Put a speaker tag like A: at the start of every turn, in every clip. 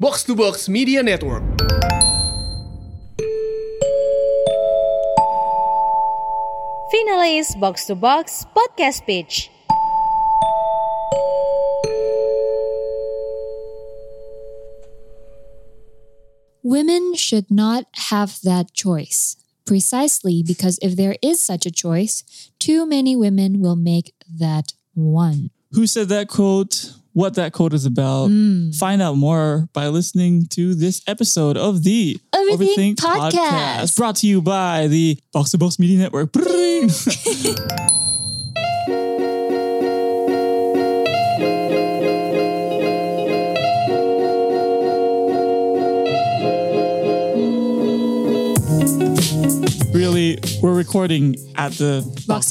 A: Box to Box Media Network.
B: Finale's Box to Box podcast pitch.
C: Women should not have that choice, precisely because if there is such a choice, too many women will make that one.
D: who said that quote, what that quote is about.
C: Mm.
D: Find out more by listening to this episode of the
C: Overthink Podcast.
D: brought to you by the Box to Box Media Network. Bring. really, we're recording at the Box,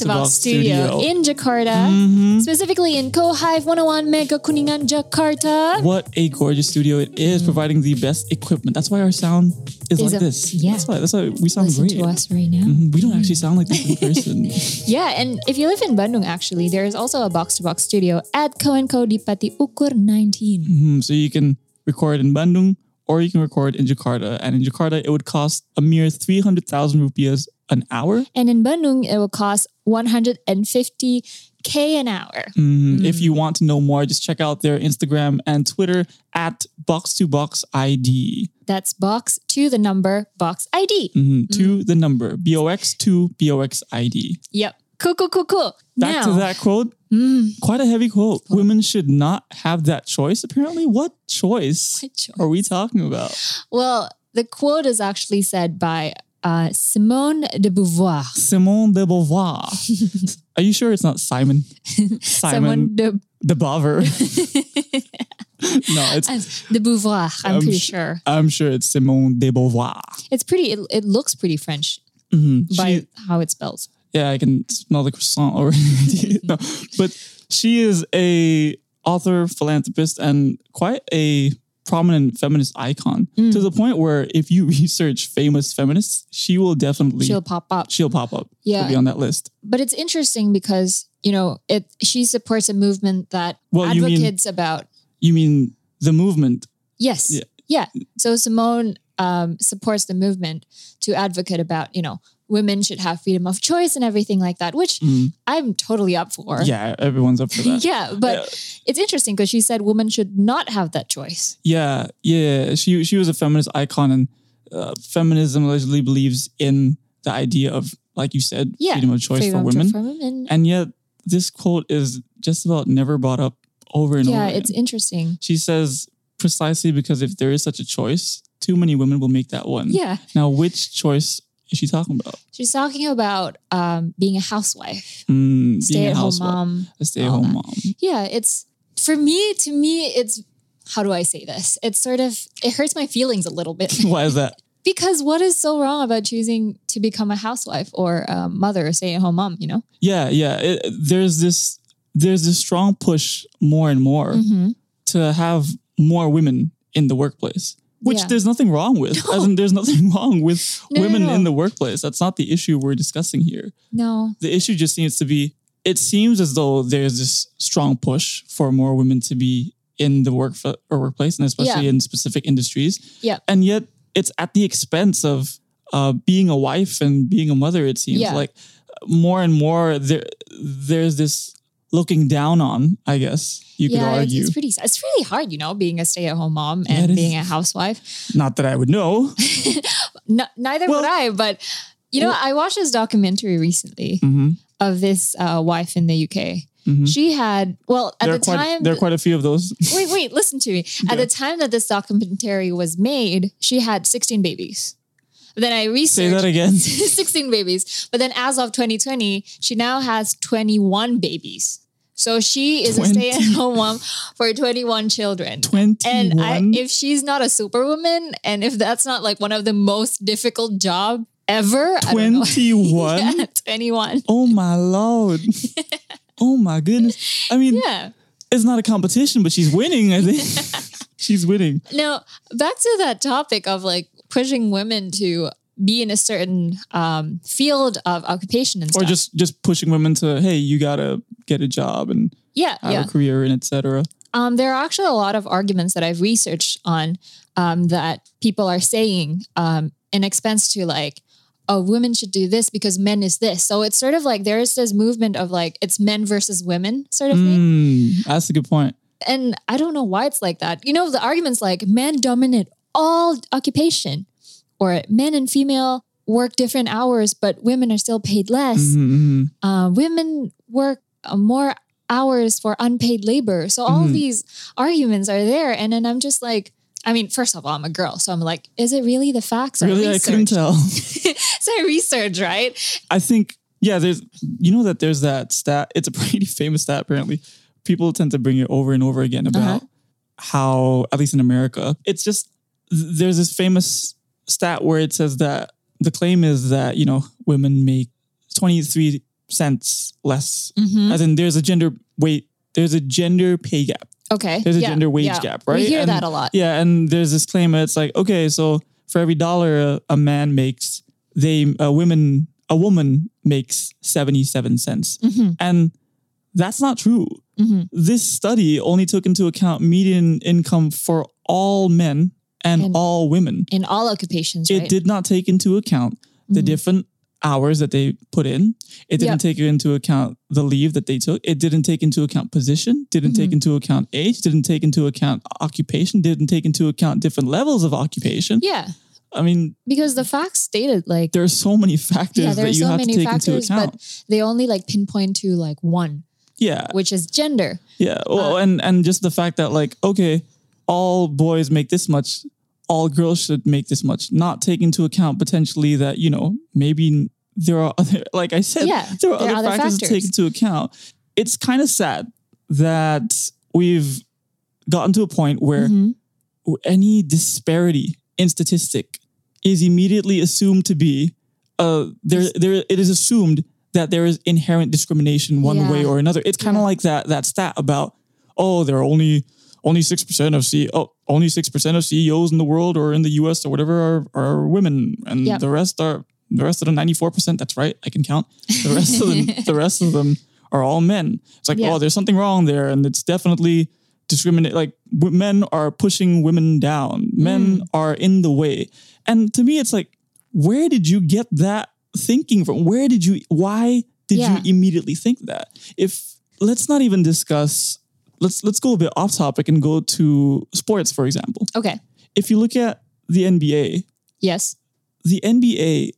C: Box
D: to
C: to Box Studio, Mm-hmm. in Jakarta,
D: Mhm.
C: specifically in Kohive 101 Mega Kuningan, Jakarta.
D: What a gorgeous studio it is, providing the best equipment. That's why our sound is,
C: Is
D: like
C: a-
D: this.
C: yeah.
D: That's why, that's why we sound
C: Listen
D: great.
C: to us Mm-hmm. right now.
D: Mhm. We don't actually sound like this in person.
C: Yeah, and if you live in Bandung, actually, there is also a box to box studio at Co and Co Dipati Ukur 19.
D: Mhm. So you can record in Bandung or you can record in Jakarta. And in Jakarta, it would cost a mere 300,000 rupias an hour
C: And in Bandung, it will cost 150k an hour.
D: Mhm. If
C: Mm.
D: you want to know more, just check out their Instagram and Twitter at box2boxid.
C: That's box to the number box ID. Mm.
D: Mhm. To the number BOX to BOXID.
C: Yep. Cool, cool, cool, cool.
D: Back
C: now,
D: to that quote.
C: Mm,
D: Quite a heavy quote. Women should not have that choice. Apparently, what choice
C: What choice?
D: are we talking about?
C: well, the quote is actually said by uh, Simone de Beauvoir.
D: Simone de Beauvoir. are you sure it's not Simon?
C: Simone
D: Simon
C: de,
D: de Beauvoir. no, it's.
C: de Beauvoir, I'm,
D: I'm
C: pretty
D: Um, sh-
C: sure.
D: I'm sure it's Simone de Beauvoir.
C: It's pretty, it, it looks pretty French
D: Mhm. She-
C: by how it's spelled.
D: yeah, I can smell the croissant already. No, but she is a author, philanthropist, and quite a prominent feminist icon to
C: Mm.
D: the point where if you research famous feminists, she will definitely
C: She'll
D: she'll,
C: pop up.
D: pop up.
C: Yeah.
D: she'll be on that list.
C: but it's interesting because, you know, it she supports a movement that
D: Well, you mean-
C: advocates about
D: You mean the movement?
C: Yes. Yeah.
D: Yeah.
C: So Simone um, supports the movement to advocate about, you know, women should have freedom of choice and everything like that, which
D: Mm.
C: I'm totally up for.
D: Yeah, everyone's up for that.
C: Yeah, but
D: Yeah.
C: it's interesting because she said women should not have that choice.
D: Yeah, yeah. She she was a feminist icon, and uh, feminism allegedly believes in the idea of, like you said,
C: Yeah,
D: freedom of choice
C: Freedom
D: for
C: of choice
D: women.
C: for women.
D: And yet, this quote is just about never brought up over and
C: yeah,
D: over.
C: it's
D: again.
C: interesting.
D: she says precisely because if there is such a choice, too many women will make that one.
C: Yeah.
D: Now, which choice is she talking about?
C: She's talking about um, being a housewife,
D: Mm,
C: stay at home
D: housewife,
C: mom.
D: a stay-at-home
C: all
D: mom.
C: Yeah, it's for me, to me, it's how do I say this? It's sort of, it hurts my feelings a little bit.
D: Why is that?
C: Because what is so wrong about choosing to become a housewife or a mother or stay at home mom, you know?
D: Yeah, yeah. It, there's this there's this strong push more and more
C: Mm-hmm.
D: to have more women in the workplace. Which
C: Yeah.
D: there's nothing wrong with. As in, there's nothing wrong with
C: No, no,
D: women
C: no.
D: in the workplace. That's not the issue we're discussing here.
C: No.
D: the issue just seems to be it seems as though there's this strong push for more women to be in the work or workplace and especially
C: Yeah.
D: in specific industries
C: Yeah.
D: and yet it's at the expense of uh, being a wife and being a mother it seems
C: Yeah.
D: like more and more there there's this looking down on i guess you
C: yeah,
D: could
C: it's-
D: argue
C: It's, pretty it's really hard, you know, being a stay at home mom
D: Yeah,
C: and
D: it is.
C: being a housewife.
D: not that i would know
C: No, neither
D: Well-
C: would I, but you know,
D: Well-
C: I watched this documentary recently
D: Mhm,
C: of this uh, wife in the UK.
D: mhm.
C: She had, well, at
D: there, are
C: the
D: quite,
C: time,
D: there are quite a few of those
C: wait, wait, listen to me. At the time that this documentary was made, she had 16 babies. Then I researched.
D: say that again
C: 16 babies. But then as of 2020, she now has 21 babies. So she is a
D: Twenty-
C: stay-at-home mom for 21 children.
D: 21
C: And I, if she's not a superwoman, and if that's not like one of the most difficult job ever, I don't know.
D: 21
C: Yeah, 21.
D: Oh my lord. oh my goodness. I mean,
C: Yeah.
D: it's not a competition, but she's winning, I think. she's winning.
C: Now back to that topic of like pushing women to be in a certain um, field of occupation and
D: Or
C: stuff.
D: just just pushing women to, hey, you gotta get a job and
C: yeah,
D: have
C: yeah.
D: a career and etc.
C: Um, there are actually a lot of arguments that I've researched on um, that people are saying um, in expense to like, oh, women should do this because men is this. So it's sort of like there is this movement of like it's men versus women sort of thing.
D: Mm, that's a good point.
C: And I don't know why it's like that. You know, the arguments like men dominate all occupation, or men and female work different hours, but women are still paid less.
D: Mhm, mhm.
C: Uh, women work uh, more hours for unpaid labor. So all
D: Mhm.
C: these arguments are there, and then I'm just like. I mean, first of all, I'm a girl, so I'm like, is it really the facts or
D: Really, I couldn't
C: research?
D: tell.
C: so I research, right?
D: I think yeah, there's you know that there's that stat. It's a pretty famous stat apparently. People tend to bring it over and over again about how, at least in America, it's just th- there's this famous stat where it says that the claim is that you know women make 23 cents less,
C: Mm-hmm.
D: as in there's a gender weight, there's a gender pay gap,
C: Okay.
D: there's a
C: yeah,
D: gender wage
C: yeah.
D: gap, right?
C: We hear
D: And-
C: that a lot.
D: yeah, and there's this claim that it's like, okay, so for every dollar a, a man makes, they a women a woman makes 77 cents.
C: Mhm,
D: And that's not true.
C: mhm.
D: This study only took into account median income for all men and,
C: And-
D: all women.
C: In all occupations,
D: It
C: right?
D: did not take into account the
C: Mhm.
D: different hours that they put in. It didn't
C: Yep.
D: take into account the leave that they took. It didn't take into account position, didn't take
C: Mhm.
D: into account age, didn't take into account occupation, didn't take into account different levels of occupation.
C: Yeah,
D: I mean,
C: because the facts stated like
D: there are so many factors
C: yeah, there
D: that
C: are
D: you
C: so
D: have to
C: many
D: take
C: factors,
D: into account.
C: but they only like pinpoint to like one,
D: yeah.
C: which is gender.
D: Yeah. Well, and and just the fact that like okay, all boys make this much, all girls should make this much, not taking into account potentially that you know maybe there are other like I said
C: Yeah,
D: there are other factors, to take into account. It's kind of sad that we've gotten to a point where
C: Mhm.
D: any disparity in statistic is immediately assumed to be uh, there. There, it is assumed that there is inherent discrimination one
C: Yeah.
D: way or another. It's kind of
C: Yeah.
D: like that that stat about oh, there are only only six percent of CEO, oh, only six percent of CEOs in the world or in the U.S. or whatever are, are women, and
C: Yep.
D: the rest are the rest of the ninety four percent. That's right, I can count. The rest of them, the rest of them are all men. It's like
C: Yeah.
D: oh, there's something wrong there, and it's definitely discriminate like w- men are pushing women down men
C: Mm.
D: are in the way and to me it's like where did you get that thinking from where did you why did
C: Yeah.
D: you immediately think that if let's not even discuss let's let's go a bit off topic and go to sports for example
C: Okay.
D: if you look at the nba
C: Yes.
D: the nba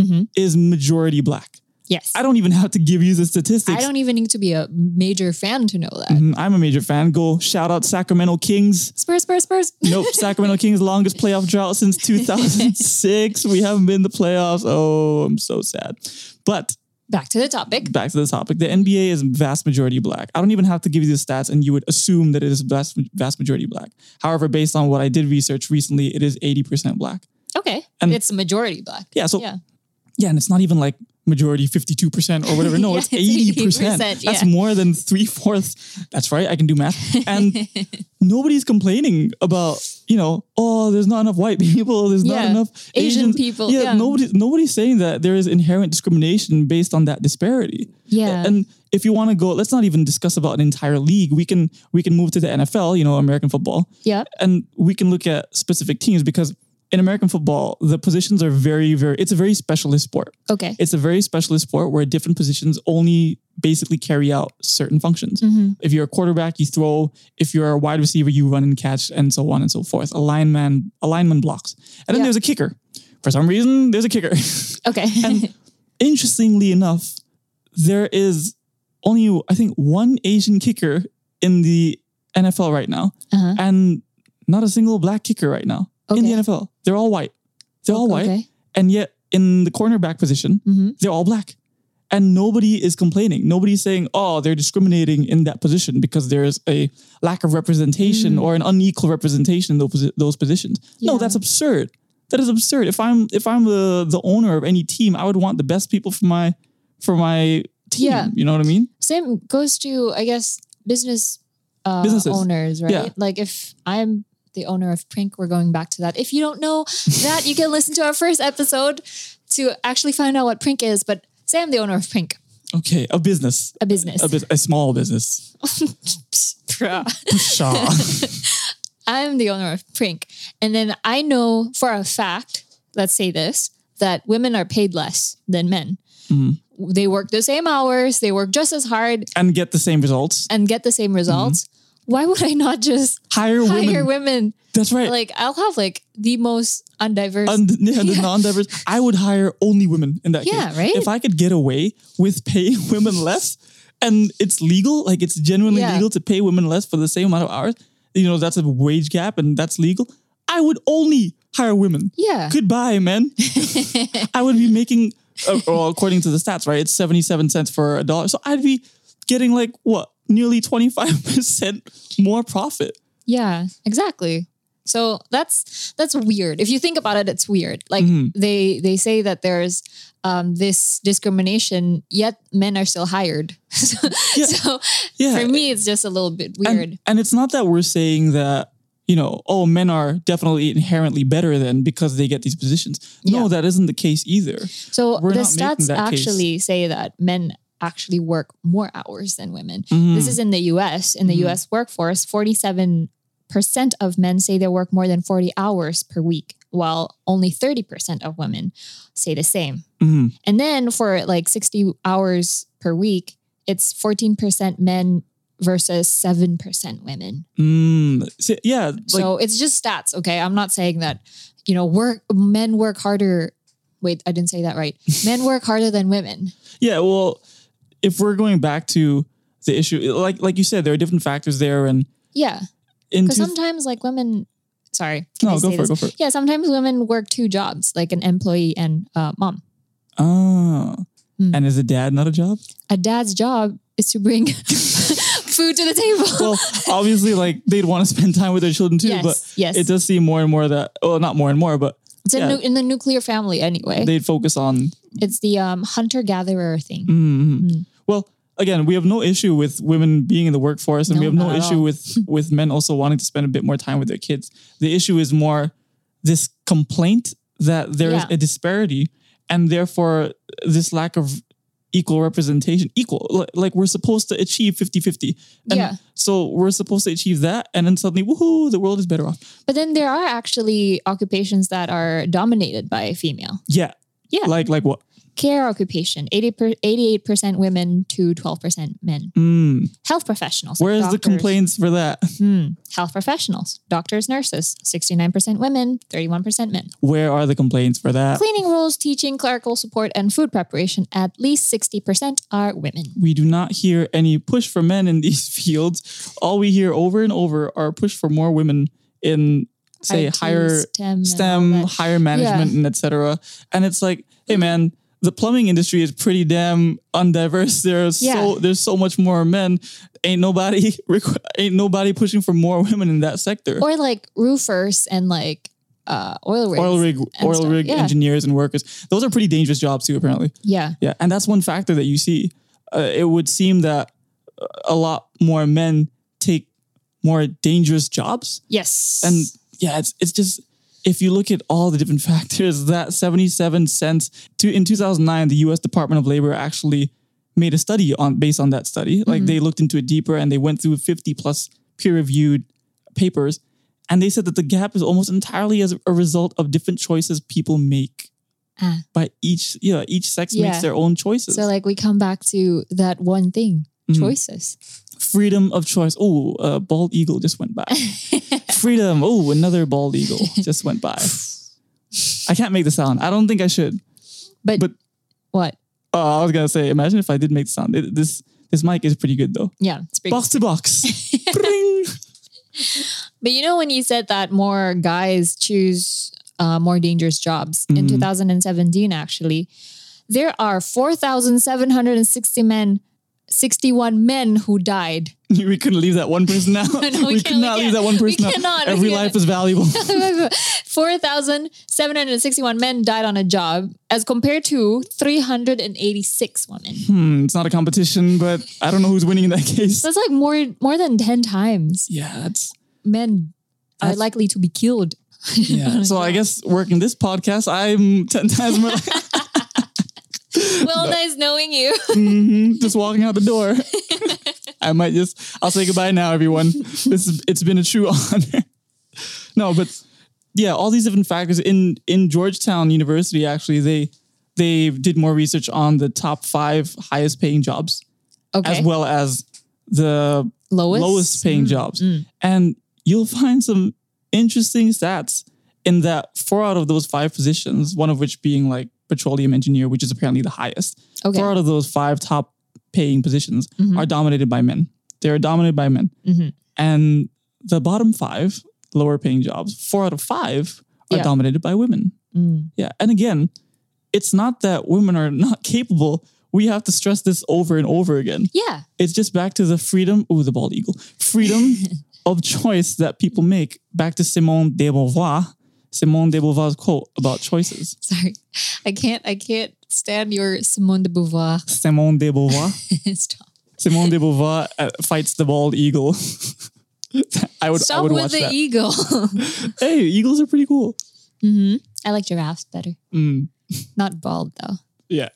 C: Mhm.
D: is majority black
C: Yes.
D: i don't even have to give you the statistics
C: I don't even need to be a major fan to know that.
D: Mhm, i'm a major fan go shout out sacramento kings
C: Spurs, Spurs, Spurs.
D: Nope, Sacramento Kings longest playoff drought since 2006. we haven't been in the playoffs. Oh, I'm so sad. But
C: Back to the topic.
D: back to the topic. The NBA is vast majority black. I don't even have to give you the stats and you would assume that it is vast, vast majority black. However, based on what I did research recently, it is 80% black.
C: Okay.
D: And-
C: it's a majority black.
D: Yeah, Um, so
C: Yeah.
D: yeah, and it's not even like majority 52% or whatever. No,
C: Yeah,
D: it's
C: it's
D: 80%.
C: 80%,
D: That's
C: yeah.
D: more than three fourths. That's right. I can do math. And nobody's complaining about you know oh there's not enough white people there's not
C: Yeah.
D: enough
C: Asian
D: Asians.
C: people,
D: yeah,
C: yeah.
D: nobody nobody's saying that there is inherent discrimination based on that disparity
C: yeah.
D: and if you want to go let's not even discuss about an entire league we can we can move to the NFL you know American football
C: yeah.
D: and we can look at specific teams because in American football the positions are very very it's a very specialist sport
C: Okay.
D: it's a very specialist sport where different positions only basically carry out certain functions.
C: Mhm.
D: If you're a quarterback, you throw. If you're a wide receiver, you run and catch, and so on and so forth. A lineman, a lineman blocks, and then
C: Yeah.
D: there's a kicker. For some reason, there's a kicker.
C: Okay.
D: and interestingly enough, there is only I think one Asian kicker in the NFL right now,
C: Uh-huh.
D: and not a single black kicker right now in
C: Okay.
D: the NFL. They're all white. They're all white,
C: Okay.
D: and yet in the cornerback position,
C: hmm
D: they're all black. And nobody is complaining. Nobody's saying, oh, they're discriminating in that position because there's a lack of representation or an unequal representation in those, posi- those positions.
C: Yeah.
D: No, that's absurd. That is absurd. If I'm if I'm the, the owner of any team, I would want the best people for my for my team.
C: Yeah.
D: You know what I mean?
C: Same goes to, I guess, business uh,
D: Businesses.
C: owners, right?
D: Yeah.
C: Like if I'm the owner of Prink, we're going back to that. If you don't know that, you can listen to our first episode to actually find out what Prink is. But Sam, the owner of Prink,
D: Okay, a business.
C: A business.
D: A, bus- a small business.
C: Bruh.
D: Shaw.
C: I'm the owner of Prink. And then I know for a fact, let's say this, that women are paid less than men.
D: Mm-hmm.
C: They work the same hours, they work just as hard
D: and get the same results.
C: and get the same results. Why would I not just
D: Hire,
C: hire
D: Mm-hmm. women.
C: women?
D: That's right.
C: Like I'll have like the most undiverse.
D: and yeah, the
C: Yeah.
D: non-diverse, I would hire only women in that
C: Yeah,
D: case.
C: right?
D: If I could get away with paying women less and it's legal, like it's genuinely
C: Yeah.
D: legal to pay women less for the same amount of hours, you know, that's a wage gap and that's legal. I would only hire women.
C: yeah.
D: Goodbye, man. I would be making, uh, well, according to the stats, right? It's 77 cents for a dollar. So I'd be getting like what? Nearly 25% more profit.
C: Yeah, exactly. So that's that's weird. If you think about it, it's weird. Like
D: Mm-hmm.
C: they they say that there's um, this discrimination, yet men are still hired. so
D: Yeah.
C: so
D: Yeah.
C: for me, it's just a little bit
D: And-
C: weird.
D: And, it's not that we're saying that, you know, oh, men are definitely inherently better than because they get these positions. No,
C: Yeah.
D: that isn't the case either.
C: so
D: we're
C: the
D: not making
C: stats
D: that case.
C: actually say that men actually work more hours than women.
D: Mhm.
C: This is in the U.S. In the
D: Mhm.
C: U.S. workforce, forty-seven percent of men say they work more than forty hours per week, while only thirty percent of women say the same.
D: Mhm.
C: And then for like 60 hours per week, it's 14% men versus 7% women.
D: Mm. So, yeah. Like,
C: so it's just stats, okay? I'm not saying that, you know, work men work harder. Wait, I didn't say that right. Men work harder than women.
D: yeah. Well, if we're going back to the issue, like like you said, there are different factors there. And
C: Yeah.
D: in
C: Because
D: two,
C: sometimes like women sorry. Can
D: no,
C: I
D: go
C: say
D: for
C: this?
D: it. Go for it.
C: Yeah, sometimes women work two jobs, like an employee and uh, mom.
D: Ah.
C: Mm.
D: And is a dad not a job?
C: A dad's job is to bring food to the table.
D: Well, obviously, like they'd want to spend time with their children too,
C: yes,
D: but
C: yes.
D: it does seem more and more that, well, not more and more, but
C: it's a
D: yeah.
C: nu- in the nuclear family anyway.
D: they'd focus on
C: It's the um, hunter gatherer thing.
D: Mhm.
C: Mm.
D: Well, again, we have no issue with women being in the workforce, and
C: No,
D: we have no
C: not at
D: issue
C: all.
D: with with men also wanting to spend a bit more time with their kids. The issue is more this complaint that there is
C: Yeah.
D: a disparity, and therefore this lack of equal representation equal li- like we're supposed to achieve 50-50 and
C: Yeah.
D: so we're supposed to achieve that and then suddenly woohoo the world is better off
C: But then there are actually occupations that are dominated by female.
D: yeah
C: Yeah.
D: like like what
C: Care occupation, 80 per, 88% women to 12% men.
D: mm.
C: Health professionals.
D: where's the
C: doctors.
D: complaints for that
C: Hmm. Health professionals, doctors, nurses, 69% women, 31% men.
D: where are the complaints for that
C: Cleaning roles, teaching, clerical support, and food preparation, at least 60% are women.
D: we do not hear any push for men in these fields. All we hear over and over are push for more women in say
C: IT,
D: higher
C: STEM, and all
D: STEM,
C: that.
D: higher management, and etc. And it's like, hey man, the plumbing industry is pretty damn undiverse. There's so
C: Yeah.
D: there's so much more men. Ain't nobody requ- ain't nobody pushing for more women in that sector.
C: Or like roofers and like uh, oil rigs.
D: Oil rig,
C: and
D: oil
C: stuff.
D: rig
C: Yeah.
D: engineers and workers. Those are pretty dangerous jobs too, apparently.
C: Yeah.
D: Yeah, and that's one factor that you see. Uh, it would seem that uh, a lot more men take more dangerous jobs,
C: Yes.
D: and yeah, it's it's just if you look at all the different factors, that seventy-seven cents to in two thousand nine, the U.S. Department of Labor actually made a study on based on that study.
C: Mm-hmm.
D: Like they looked into it deeper and they went through fifty plus peer-reviewed papers, and they said that the gap is almost entirely as a result of different choices people make.
C: Ah.
D: By each, you know, each sex
C: Yeah.
D: makes their own choices.
C: so like we come back to that one thing,
D: Mhm.
C: choices.
D: freedom of choice. Oh, a bald eagle just went by. freedom. Oh, another bald eagle just went by. I can't make the sound. I don't think I should.
C: But,
D: But-
C: what?
D: Oh, I was gonna say, imagine if I did make the sound. It- this this mic is pretty good though.
C: Yeah, it's pretty-
D: Box to box. Pring.
C: But you know when you said that more guys choose uh, more dangerous jobs in
D: Mhm.
C: 2017 actually, there are 4,760 men 61 men who died.
D: we couldn't leave that one person out.
C: No, we
D: we
C: can't,
D: could
C: we
D: not leave
C: can't.
D: that one
C: We
D: person out.
C: cannot, we
D: Every
C: can't.
D: life is valuable.
C: 4,761 men died on a job as compared to 386 women.
D: hmm, it's not a competition, but I don't know who's winning in that case.
C: So that's like more more than 10 times.
D: Yeah, that's
C: men are
D: That's-
C: likely to be killed.
D: yeah. so I guess working this podcast, I'm ten times more.
C: Well, nice knowing you.
D: Mhm, just walking out the door. I might just I'll say goodbye now, everyone. This is, it's been a true honor. No, but yeah, all these different factors in in Georgetown University. Actually, they they did more research on the top five highest paying jobs
C: Okay.
D: as well as the
C: Lowest? Mm-hmm.
D: lowest paying jobs, and you'll find some interesting stats in that four out of those five positions, one of which being like petroleum engineer, which is apparently the highest
C: Okay. Mm-hmm.
D: four out of those five top paying positions are dominated by men. They are dominated by men.
C: Mhm.
D: And the bottom five lower paying jobs, four out of five are
C: Yeah.
D: dominated by women.
C: Mm.
D: Yeah. And again, it's not that women are not capable. We have to stress this over and over again.
C: Yeah.
D: It's just back to the freedom, ooh, the bald eagle, freedom of choice that people make. Back to Simone de Beauvoir, Simone de Beauvoir's quote about choices.
C: Sorry. I can't I can't stand your Simone de Beauvoir.
D: Simone de Beauvoir.
C: Stop.
D: Simone de Beauvoir uh, fights the bald eagle. I would, I
C: Stop
D: would
C: with
D: watch
C: the e-,
D: that.
C: eagle.
D: hey, eagles are pretty cool.
C: hmm I like giraffes better.
D: Mm,
C: Not bald though.
D: yeah,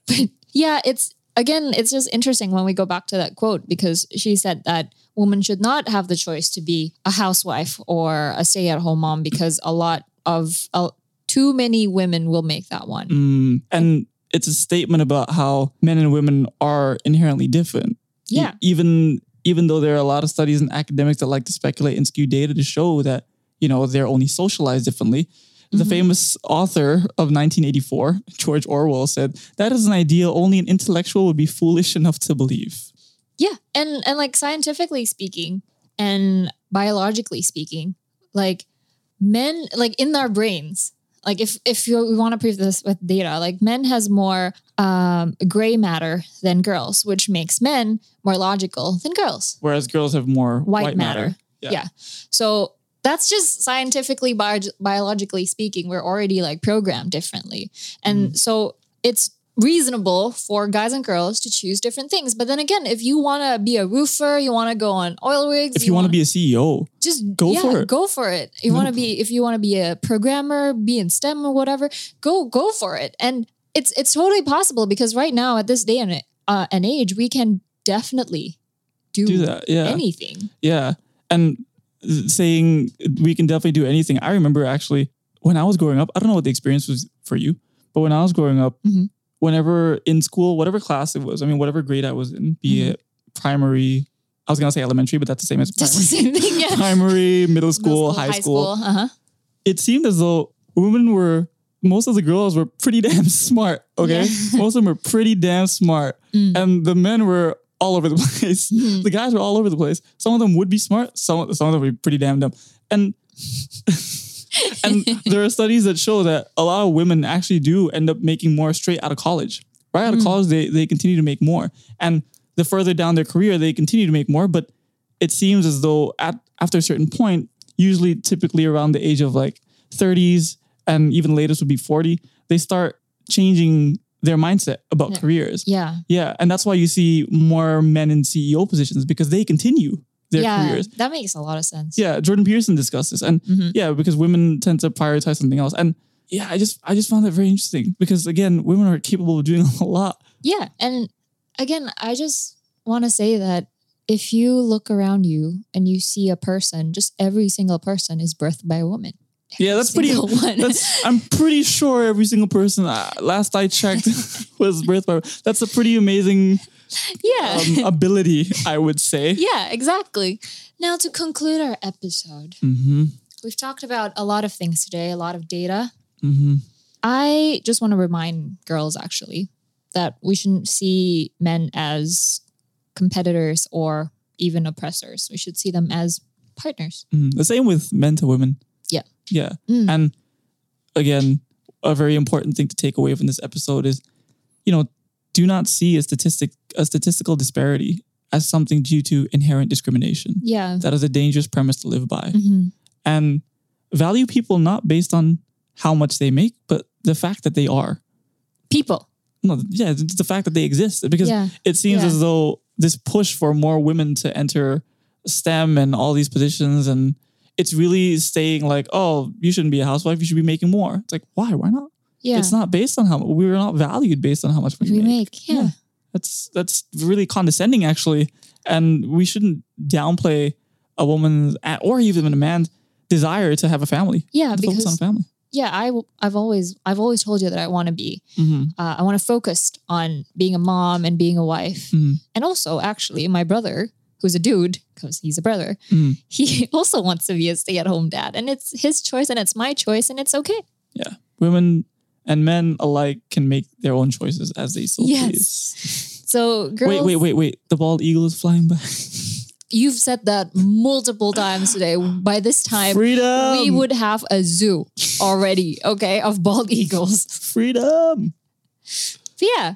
C: Yeah, it's again, it's just interesting when we go back to that quote because she said that women should not have the choice to be a housewife or a stay-at-home mom because a lot of a too many women will make that one.
D: mm. and it's a statement about how men and women are inherently different. E-
C: Yeah.
D: even even though there are a lot of studies and academics that like to speculate and skew data to show that you know they're only socialized differently. The
C: Mhm.
D: famous author of 1984, George Orwell, said that is an idea only an intellectual would be foolish enough to believe.
C: Yeah, and and like scientifically speaking and biologically speaking, like men like in our brains, like if if you, we want to prove this with data, like men has more um, gray matter than girls, which makes men more logical than girls.
D: Whereas girls have more
C: White,
D: white,
C: matter.
D: matter.
C: Yeah.
D: Yeah.
C: So that's just scientifically bio- biologically speaking, we're already like programmed differently. And
D: Mm-hmm.
C: so it's reasonable for guys and girls to choose different things. But then again, if you want to be a roofer, you want to go on oil rigs,
D: if you, want to
C: wanna-
D: be a E CEO,
C: just
D: go
C: yeah,
D: for it.
C: Go for it. You
D: No
C: want to be if you want to be a programmer, be in STEM or whatever. Go go for it. And it's it's totally possible because right now at this day and uh, an age, we can definitely do,
D: do that. Yeah.
C: anything.
D: yeah. And th- saying we can definitely do anything. I remember actually when I was growing up, I don't know what the experience was for you, but when I was growing up,
C: Mhm.
D: whenever in school, whatever class it was, I mean, whatever grade I was in, be it primary, I was going to say elementary, but that's the same as
C: That's the same thing. Yeah.
D: primary, middle school, high, school.
C: Uh-huh.
D: It seemed as though women were, most of the girls were pretty damn smart. Okay. most of them were pretty damn smart.
C: Mm.
D: and the men were all over the place.
C: Mhm.
D: The guys were all over the place. Some of them would be smart. Some some of them would be pretty damn dumb. And and there are studies that show that a lot of women actually do end up making more straight out of college. Right out of college, they they continue to make more, and the further down their career, they continue to make more. But it seems as though at after a certain point, usually typically around the age of like 30s and even latest would be 40, they start changing their mindset about
C: Yeah.
D: careers.
C: Yeah.
D: Yeah, and that's why you see more men in CEO positions because they continue their
C: yeah.
D: careers.
C: That makes a lot of sense.
D: Yeah, Jordan Peterson discussed this, and
C: Mhm.
D: yeah, because women tend to prioritize something else. And yeah, I just I just found that very interesting because again, women are capable of doing a lot.
C: Yeah. And again, I just want to say that if you look around you and you see a person, just every single person is birthed by a woman.
D: Yeah, that's pretty.
C: Single one.
D: That's I'm pretty sure every single person uh, last I checked was birthed by. That's a pretty amazing
C: yeah.
D: um, ability, I would say.
C: yeah, exactly. Now to conclude our episode,
D: Mm-hmm.
C: we've talked about a lot of things today, a lot of data.
D: Mm-hmm.
C: I just want to remind girls actually that we shouldn't see men as competitors or even oppressors. We should see them as partners.
D: Mm, the same with men to women.
C: Yeah.
D: Yeah.
C: Mm.
D: And again, a very important thing to take away from this episode is, you know, do not see a statistic a statistical disparity as something due to inherent discrimination.
C: Yeah.
D: That is a dangerous premise to live by.
C: Mhm.
D: And value people not based on how much they make, but the fact that they are.
C: People.
D: No, yeah, it's the fact that they exist. Because
C: Yeah.
D: it seems
C: Yeah.
D: as though this push for more women to enter STEM and all these positions, and it's really saying like, "Oh, you shouldn't be a housewife; you should be making more." It's like, why? Why not?
C: Yeah.
D: It's not based on how we were not valued based on how much money
C: we make. Yeah.
D: That's that's really condescending, actually, and we shouldn't downplay a woman's a- or even a man's desire to have a family.
C: Yeah,
D: to focus on
C: because
D: family.
C: yeah, I w- I've always I've always told you that I want to be uh, I want to focus on being a mom and being a wife.
D: Mhm.
C: And also, actually, my brother, who's a dude, because he's a brother,
D: Mhm.
C: he also wants to be a stay at home dad. And it's his choice and it's my choice and it's okay.
D: Women and men alike can make their own choices as they so
C: Yes.
D: please.
C: So, girls,
D: Wait, wait, wait, wait! The bald eagle is flying back.
C: you've said that multiple times today. By this time,
D: freedom.
C: we would have a zoo already, okay, of bald eagles.
D: freedom.
C: But yeah,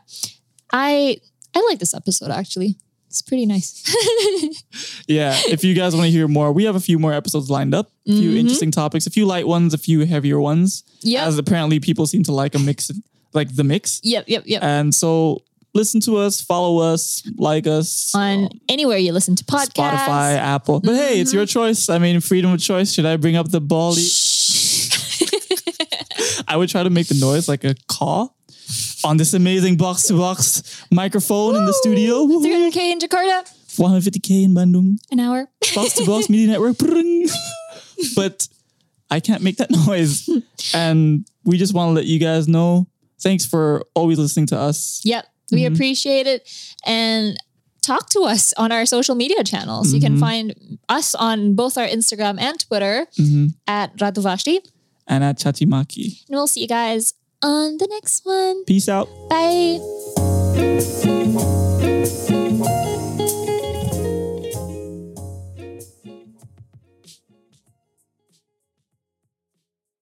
C: I I like this episode actually. It's pretty nice.
D: Yeah, if you guys want to hear more, we have a few more episodes lined up. A few
C: Mhm.
D: interesting topics, a few light ones, a few heavier ones.
C: yep,
D: As apparently people seem to like a mix, like the mix.
C: yep, yep, yep.
D: And so listen to us, follow us, like us
C: on
D: um,
C: anywhere you listen to podcasts.
D: Spotify, Apple. But hey,
C: Mm-hmm.
D: it's your choice. I mean, freedom of choice. Should I bring up the bald? e- I would try to make the noise like a caw on this amazing box to box microphone in the studio. Woohoo.
C: 300k in Jakarta,
D: 150k in Bandung.
C: an hour.
D: box to box media network. Prrrring. but I can't make that noise. And we just want to let you guys know. Thanks for always listening to us.
C: yep, we
D: Mm-hmm.
C: appreciate it. And talk to us on our social media channels. You can
D: Mhm.
C: find us on both our Instagram and Twitter
D: Mhm.
C: at Ratu Vashti. And
D: And at Chatimaki.
C: we'll see you guys on the next one.
D: Peace out.
C: Bye.